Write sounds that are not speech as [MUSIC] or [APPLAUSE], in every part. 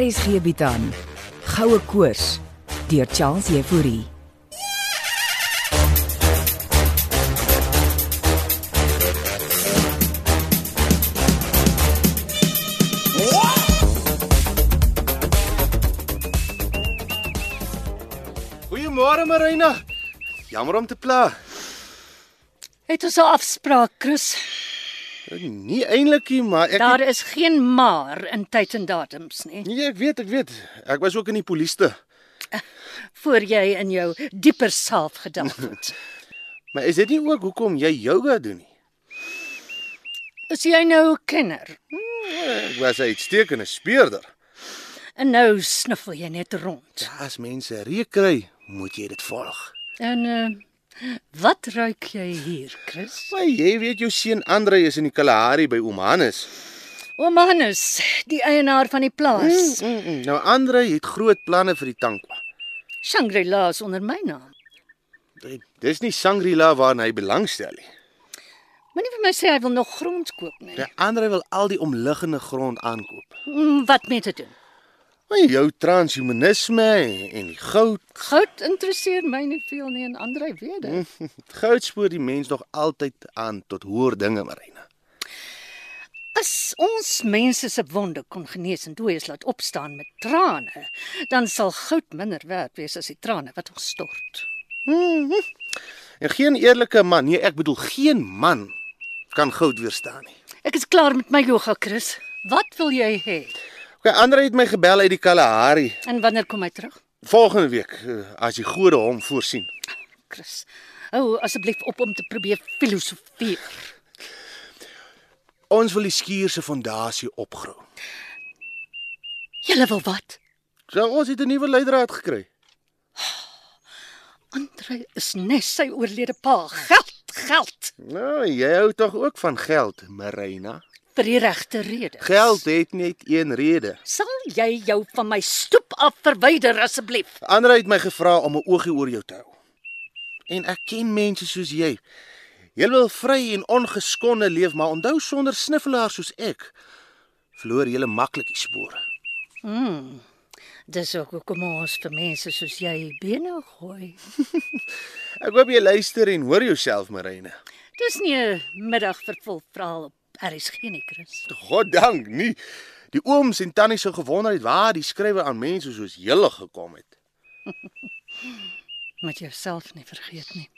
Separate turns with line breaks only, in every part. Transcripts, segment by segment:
RSG bied aan Goue Koors deur Charles Euphorie.
Goeiemôre Marina. Jammer om te pla.
Het ons 'n afspraak, Chris.
Nie eintlik nie, maar ek
Daar is geen maar in tyd en datums nie.
Nee, ek weet, ek weet. Ek was ook in die polisie.
Voor jy in jou dieper self gedag het.
Maar is dit nie ook hoekom jy yoga doen nie?
Is jy nou 'n kenner?
Ek was 'n uitstekende speurder. Ja,
En nou sniffel jy net rond.
As mense reuk kry, moet jy dit volg.
En uh, wat ruik jy hier, Chris?
Maar jy weet jou seun Andre is in die Kalahari by oom Hannes.
Oom Hannes, die eienaar van die plaas.
Mm, mm, mm. Nou Andre het groot planne vir die tankwa.
Shangri-La is onder my naam.
Dis nie Shangri-La waarna hy belangstel nie.
Moenie vir my sê hy wil nog grond koop nie.
Die Nou, Andre wil al die omliggende grond aankoop.
Mm, Wat met dit doen?
Maar jou transhumanisme en, en die goud
Goud interesseer my nie veel nie en Andrei weet dit.
Goud spoor die mens nog altyd aan tot hoër dinge, Marina.
As ons mense se wonde kon genees en dooies laat opstaan met trane, dan sal goud minder werd wees as die trane wat ons stort.
Hmm. En geen eerlike man, nee, ek bedoel geen man kan goud weerstaan nie.
Ek is klaar met my yoga, Chris. Wat wil jy hê?
OK, Andre het my gebel uit die Kalahari
En wanneer kom hy terug?
volgende week eh, as die gode hom voorsien.
Chris, hou asseblief op om te probeer filosofeer.
Ons wil die skuur se fondasie opgrou.
Julle wil wat?
So ons het 'n nuwe leidraad gekry.
Andre is net sy oorlede pa. Geld, geld
Nou, jy hou tog ook van geld, Marina.
vir die regte rede.
Geld het net een rede.
Sal jy jou van my stoep af verwyder asseblief?
Andre het my gevra om 'n oogie oor jou te hou. En ek ken mense soos jy. Jy wil vry en ongeskonde leef, maar onthou sonder sniffelaars soos ek verloor jy maklik die spore.
Hmm. Dis ook hoekom ons vir mense soos jy bene gooi.
Ek hoop jy luister en hoor jouself, Marine.
Dis nie 'n middag vir vol verhaal op RSG nie, Chris.
God dank nie. Die ooms en tannies sou gewonder het waar die skrywe aan mense soos julle gekom het.
Moet jouself nie vergeet nie.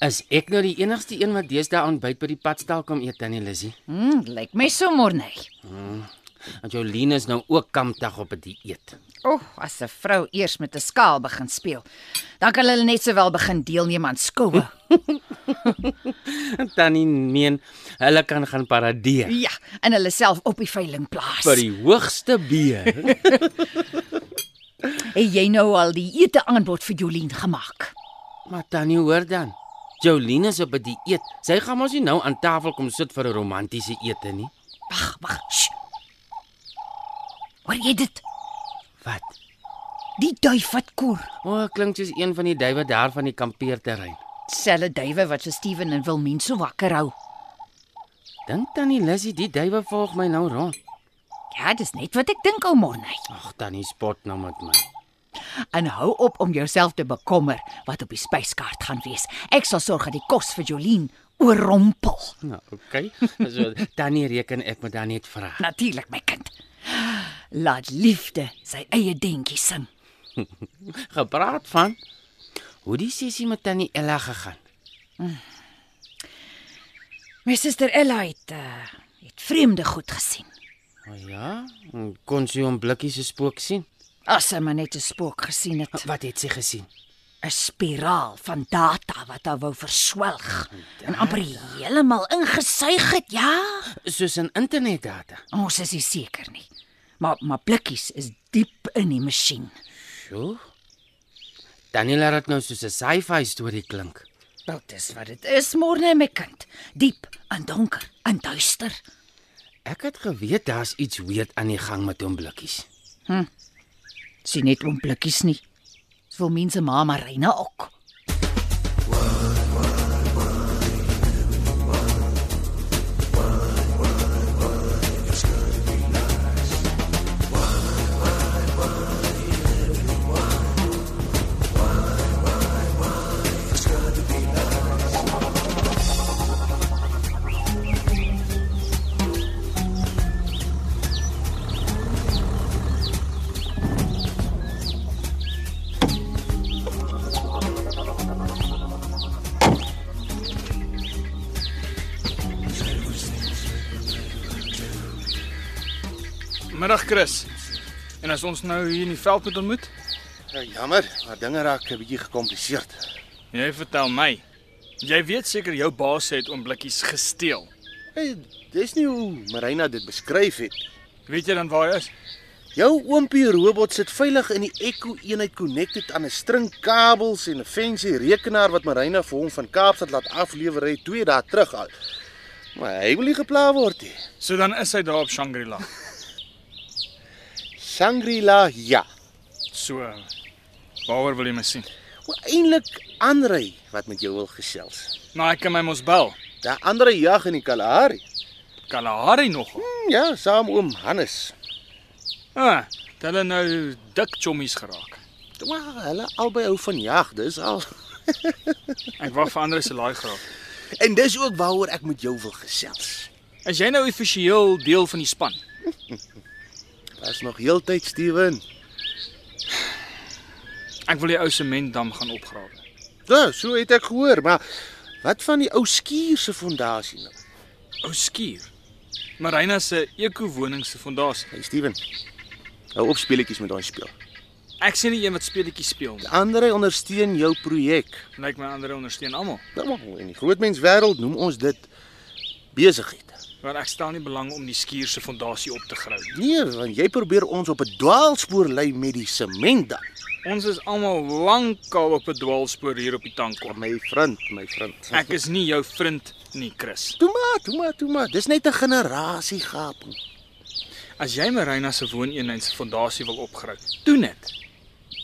Is ek nou die enigste een wat deesdae ontbyt by die padstal kom eet tannie Lizzie?
Mm, lyk my so morney.
Want Jolene is nou ook kampdag op 'n dieet.
O, oh, as 'n vrou eers met 'n skaal begin speel, dan kan hulle net sowel begin deelneem aan skoue.
En tannie meen hulle kan gaan paradeer
ja, en hulle self op die veiling plaas.
by die hoogste beer. [LAUGHS]
Het jy nou al die ete aanbod vir Jolien gemaak?
maar tannie hoor dan. Jolene is op 'n dieet. Sy gaan mos nie nou aan tafel kom sit vir 'n romantiese ete nie.
Wag, wag. sst. Hoor jy dit?
Wat?
Die duif wat koer.
O, oh, klink soos een van die duwe daar van die kampeerterrein.
Selle duwe wat vir Steven en Wilmien so wakker hou.
Dink tannie Lizzie, die duwe volg my nou rond.
Ja, dis net wat ek dink ou morney.
Ag, tannie spot nou met my.
En hou op om jouself te bekommer wat op die spyskaart gaan wees. Ek sal sorg dat die kos vir Jolien oorrompel.
Nou, okay. So tannie reken ek moet dan net vra.
Natuurlik, my kind. Laat liefde sy eie dentjie sing.
gepraat van hoe die sessie met tannie Ella gegaan.
My suster Ella het uh, het vreemde goed gesien.
O oh ja, en kon sy hom blikkies se spook sien?
As sy maar net 'n spook gesien het,
Wat het sy gesien?
'n spiraal van data wat haar wou verswelg en amper heeltemal ingesuig het, ja.
Soos 'n internetdata.
Ons is nie seker nie. Maar maar blikkies is diep in die masjien.
Sjoe. Tannie laat dit nou soos 'n sci-fi storie klink.
Wel, dis wat dit is, môre my kind. Diep en donker en duister.
Ek het geweet daar's iets weird aan die gang met hom blikkies.
Sien net oom blikkies nie. Dis wil mense ma Marina ook.
Middag Chris. En as ons nou hier in die veld moet ontmoet,
Ja, jammer, maar dinge raak 'n bietjie gekompliseerd.
jy vertel my. Jy weet seker jou baas het oomblikkies gesteel.
Hey, dis nie hoe Marina dit beskryf het.
Weet jy dan waar hy is?
Jou oompie robot sit veilig in die Echo eenheid connected aan 'n string kabels en 'n fancy rekenaar wat Marina vir hom van Kaapstad laat aflewer het 2 dae terug al. Maar hy wil nie gepla word nie.
So dan is hy daar op Shangri-La.
Shangri-La, ja.
So waaroor wil jy my sien?
O, Eintlik Andrei wat met jou wil gesels.
Maar Nou, ek kan my mos bel.
Da Andrei jag in die Kalahari.
Kalahari nog.
Hm, Ja, saam oom Hannes.
Ah, het hulle nou dik chommies geraak.
Maar hulle albei hou van jag, dis al.
Ek wag vir ander se laai graag.
En dis ook waaroor ek met jou wil gesels.
As jy nou offisieel deel van die span.
Daar's nog heeltyd Steven.
Ek wil die ou sementdam gaan opgrawe.
Ja, so het ek gehoor, maar wat van die ou skuur se fondasie nou?
Ou Oh, skuur. Marina se ekowoning se fondasie.
Hey Steven. Hou op speletjies met daai speel.
Ek sien die een wat speletjies speel. nie.
Andrei ondersteun jou projek.
Lyk my ander ondersteun almal,
Nou maar in die grootmenswêreld noem ons dit besigheid.
want ek stel nie belang om die skuur se fondasie op te grou nie.
Nee, want jy probeer ons op 'n dwaalspoor lei met die sement dan.
Ons is almal lankal op 'n dwaalspoor hier op die tankkom.
My vriend, my vriend.
Ek is nie jou vriend nie, Chris.
Toe maar, toe maar, toe maar. Dis net 'n generasiegaping.
As jy Marina se wooneenheid se fondasie wil opgrou, doen dit.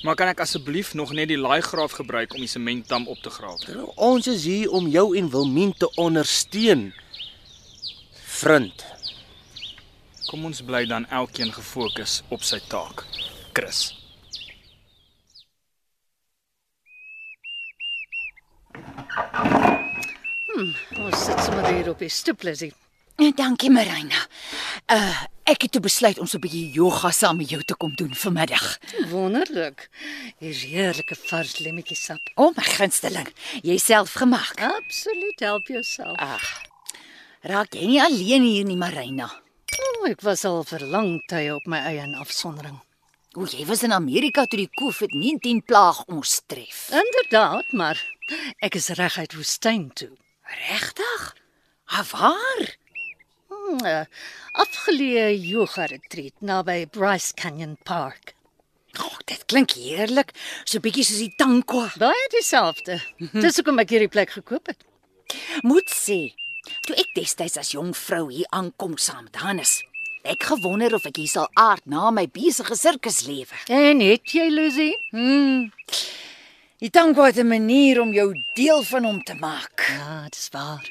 Maar kan ek asseblief nog net die laaigraaf gebruik om die sementdam op te grawe?
Terwyl Ons is hier om jou en Wilmien te ondersteun. Vriend.
Kom ons bly dan elkeen gefokus op sy taak. Chris.
Ons sit sommer hier op die stoep, Lizzie.
Nee, dankie Marina. Uh, ek het toe besluit om so 'n bietjie yoga saam met jou te kom doen vanmiddag.
Wonderlik. Hier's heerlike vars lemmetjiesap.
O, oh, my gunsteling, jy self gemaak.
Absoluut help jouself.
Ag. Raak jy nie alleen hier nie, Marina.
Oh, ek was al vir lang tye op my eie in afsondering.
O, jy was in Amerika toe die COVID-19 plaag ons tref.
Inderdaad, maar ek is reguit woestyn toe.
Regtig? Ah, Waar?
Hmm, 'n Afgeleë yoga retreat naby Bryce Canyon Park.
O, oh, dit klink heerlik, so bietjie soos die Tankwa.
Baie dieselfde. Dis hoekom ek hierdie plek gekoop het.
Moet sê, toe ek destyds as jong vrou hier aankom saam met Hannes, ek gewonder of ek hier sal aard na my besige sirkuslewe.
En het jy Lucy?
Hm? Hmm. Die Tankwa het 'n manier om jou deel van hom te maak.
Ja, dis waar.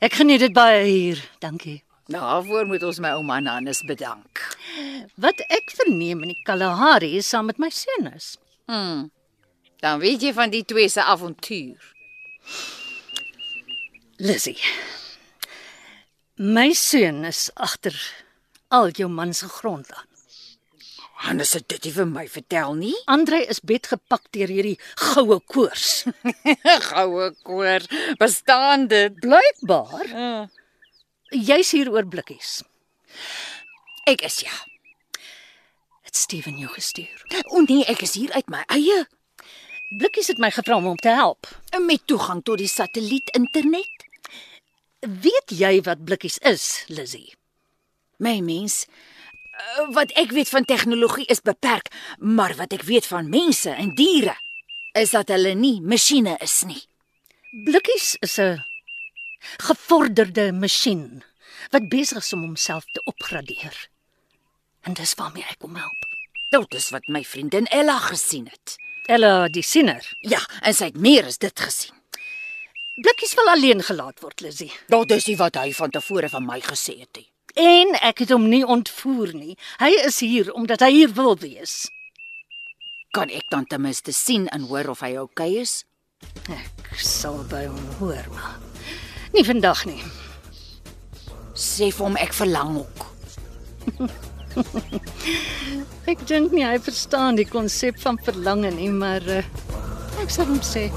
Ek geniet dit baie hier. Dankie.
Daarvoor moet ons my ouma Hannes bedank.
Wat ek verneem in die Kalahari is saam met my seun is.
Hmm. Dan weet jy van die twee se avontuur.
Lizzy. My seun is agter al jou man se grond aan.
Hannes het dit nie vir my vertel nie.
Andrei is bedgepak deur hierdie goue koers.
[LAUGHS] Goue koor, bestaan dit?
Blykbaar. Jy's hier oor blikkies.
Ek is ja.
Het Steven jou gestuur.
O nee, ek is hier uit my eie
Blikkies het my gevra om hom te help.
met toegang tot die satelliet internet.
Weet jy wat blikkies is, Lizzy?
My mens, eh, wat ek weet van tegnologie is beperk, maar wat ek weet van mense en diere is dat hulle nie masjiene is nie.
Blikkies is 'n gevorderde masjien wat besig is om homself te opgradeer. En dis waarmee ek kom help.
Dit is wat my vriendin Ella gesien het.
Ella, die siener.
Ja, en sy het meer as dit gesien.
Blikkies wil alleen gelaat word, Lizzy.
Dit is nie wat hy van tevore van my gesê het nie.
En ek het hom nie ontvoer nie. Hy is hier omdat hy hier wil wees.
Kan ek dan ten minste sien en hoor of hy oukei okay is?
Ek sal by hom hoor, maar nie vandag nie.
Sê vir hom ek verlang ook.
Ek dink nie hy verstaan die konsep van verlange nie, maar uh, ek sal hom sê.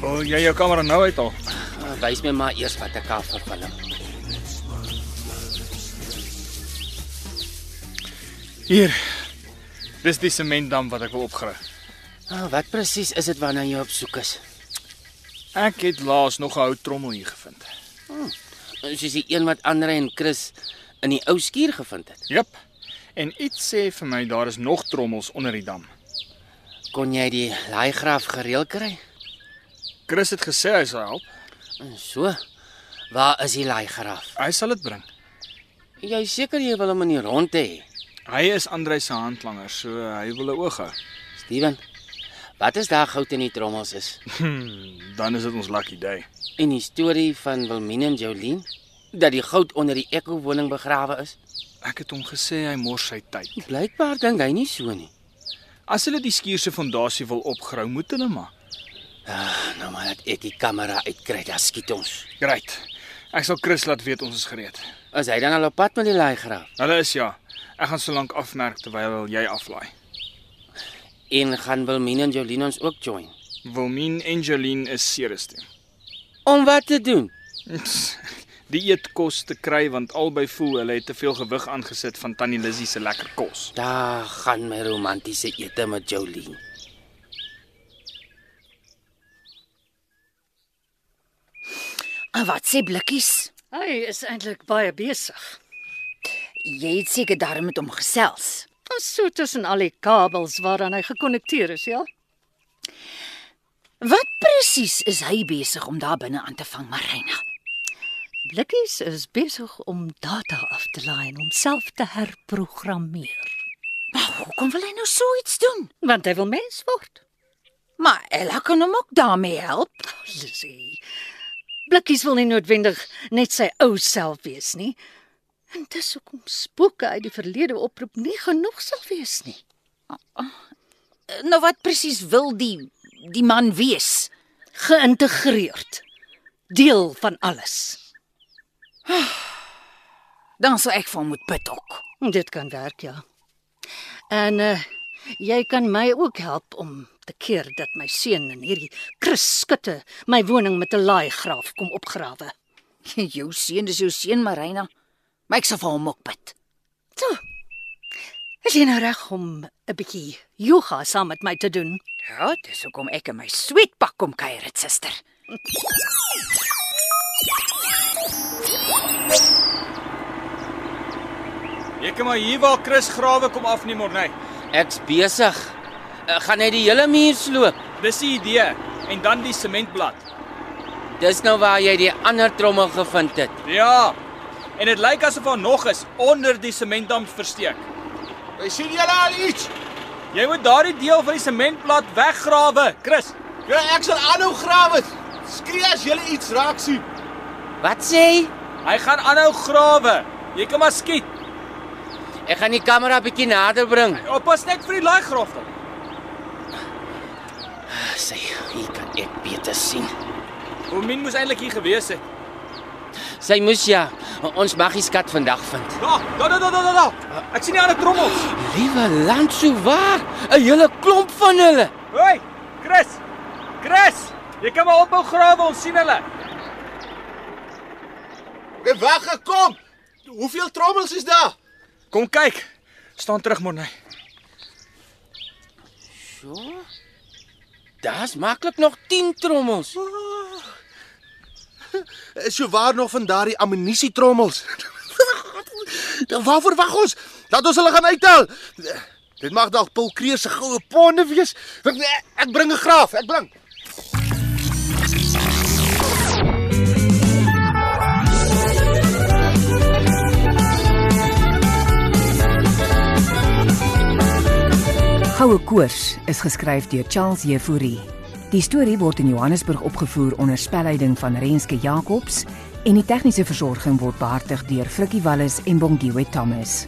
Wil jy jou kamera nou uithaal?
Ah, Wys my maar eers wat ek kan vervilm.
Hier. Dis die sementdam wat ek wil opgrawe.
Ah, wat presies is dit waarna jy op soek is?
Ek het laas nog 'n houttrommel hier gevind.
Soos die een wat Andre en Chris in die ou skuur gevind het.
Jep. En iets sê vir my daar is nog trommels onder die dam.
Kon jy die laai graf gereël kry?
Chris het gesê hy sal help.
So. Waar is die laai graf?
Hy sal dit bring.
Jy is seker jy wil hom in die rond hê?
Hy is Andre se handlanger, so hy wil 'n oog hou.
Steven. Wat is daar goud in die trommels is?
Hmm, dan is dit ons lucky day.
En die storie van Wilmien en Jolien dat die goud onder die Ekko woning begrawe is?
Ek het hom gesê hy mors sy tyd.
Blykbaar dink hy nie so nie.
As hulle die skuur se fondasie wil opgrou, moet hulle maar.
Nou maar dat ek die kamera uitkry, dan skiet ons.
Great. Ek sal Chris laat weet ons is gereed.
Is hy dan al op pad met die laai graf?
Hulle is ja. Ek gaan so lank afmerk terwyl jy aflaai.
En gaan Wilmien en Jolien ons ook join?
Wilmien Angeline is serius toe.
Om wat te doen?
Die eetkos te kry want albei voel hulle het te veel gewig aangesit van Tannie Lizzy se lekker kos.
Daar gaan my romantiese ete met Jolien.
En wat sê blikkies?
Hy is eintlik baie besig.
Jy het seker daarmee met hom gesels.
Ons so tussen al die kabels waaraan hy gekonnekteer is, ja.
Wat presies is hy besig om daar binne aan te vang, Marina?
Blikkies is besig om data af te laai en homself te herprogrammeer,
Maar hoekom wil hy nou so iets doen?
want hy wil mens word.
Maar Ella kan hom ook daarmee help.
Oh, Lissy. Blikkies wil nie noodwendig net sy ou self wees nie. En dis hoekom spooke uit die verlede oproep nie genoeg sal wees nie.
Nou wat presies wil die die man wees?
Geïntegreerd. Deel van alles.
Dan sal ek vir hom moet bid ook. [LAUGHS]
Dit kan werk, ja. En uh, jy kan my ook help om te keer dat my seun in hierdie Chris skutte my woning met 'n laai graaf kom opgrawe.
Jou seun is jou seun, Marina. Maar ek sal vir hom ook bid.
So. Is jy nou reg om 'n bietjie yoga saam met my te doen?
Ja, dis hoekom ek in my sweetpak kom kuier, dit suster.
Jy kan maar hier waar Chris grawe kom afneem hoor, nee.
Ek's besig. Ek gaan net die hele muur sloop.
Dis die idee. En dan die sementblad.
Dis nou waar jy die ander trommel gevind het.
Ja. En dit lyk asof daar nog is onder die sementdam versteek.
Wij zien jullie al iets.
Jy moet daardie deel van die sementblad weggrawe, Chris.
Ja, ik zal aanhou graven. Schreeuw als jullie iets raak zien.
Wat sê jy?
Hy gaan aanhou grawe. Jy kan maar skiet.
Ek gaan die kamera bietjie nader bring.
Oppas net vir die laai graf dan.
Sê, Ah, hier kan ek beter sien.
Hoemin moes eintlik hier gewees het.
Sy moes ja, ons mag die skat vandag vind.
Daar, daar, daar, daar, daar, daar. Ek sien die ander trommels.
Liewe land, so waar, 'n hele klomp van hulle.
Hoi, Chris. Chris, jy kan maar ophou grawe, ons sien hulle.
Ik weggekom. Hoeveel trommels is daar?
Kom kyk. Staan terug, Morney.
So. Daar's maklik nog 10 trommels.
Is jy waar nog van daardie ammunisie [LAUGHS] trommels? Dan waarvoor wag ons? Laat ons hulle gaan uittel. Dit mag dalk Paul Kreer se goue ponde wees. Ek- Ek bring 'n graaf, ek bring.
Goue Koors is geskryf deur Charles Jefouri. Die storie word in Johannesburg opgevoer onder spelleiding van Renske Jacobs en die tegniese versorging word behartig deur Frikkie Wallis en Bongwe Thomas.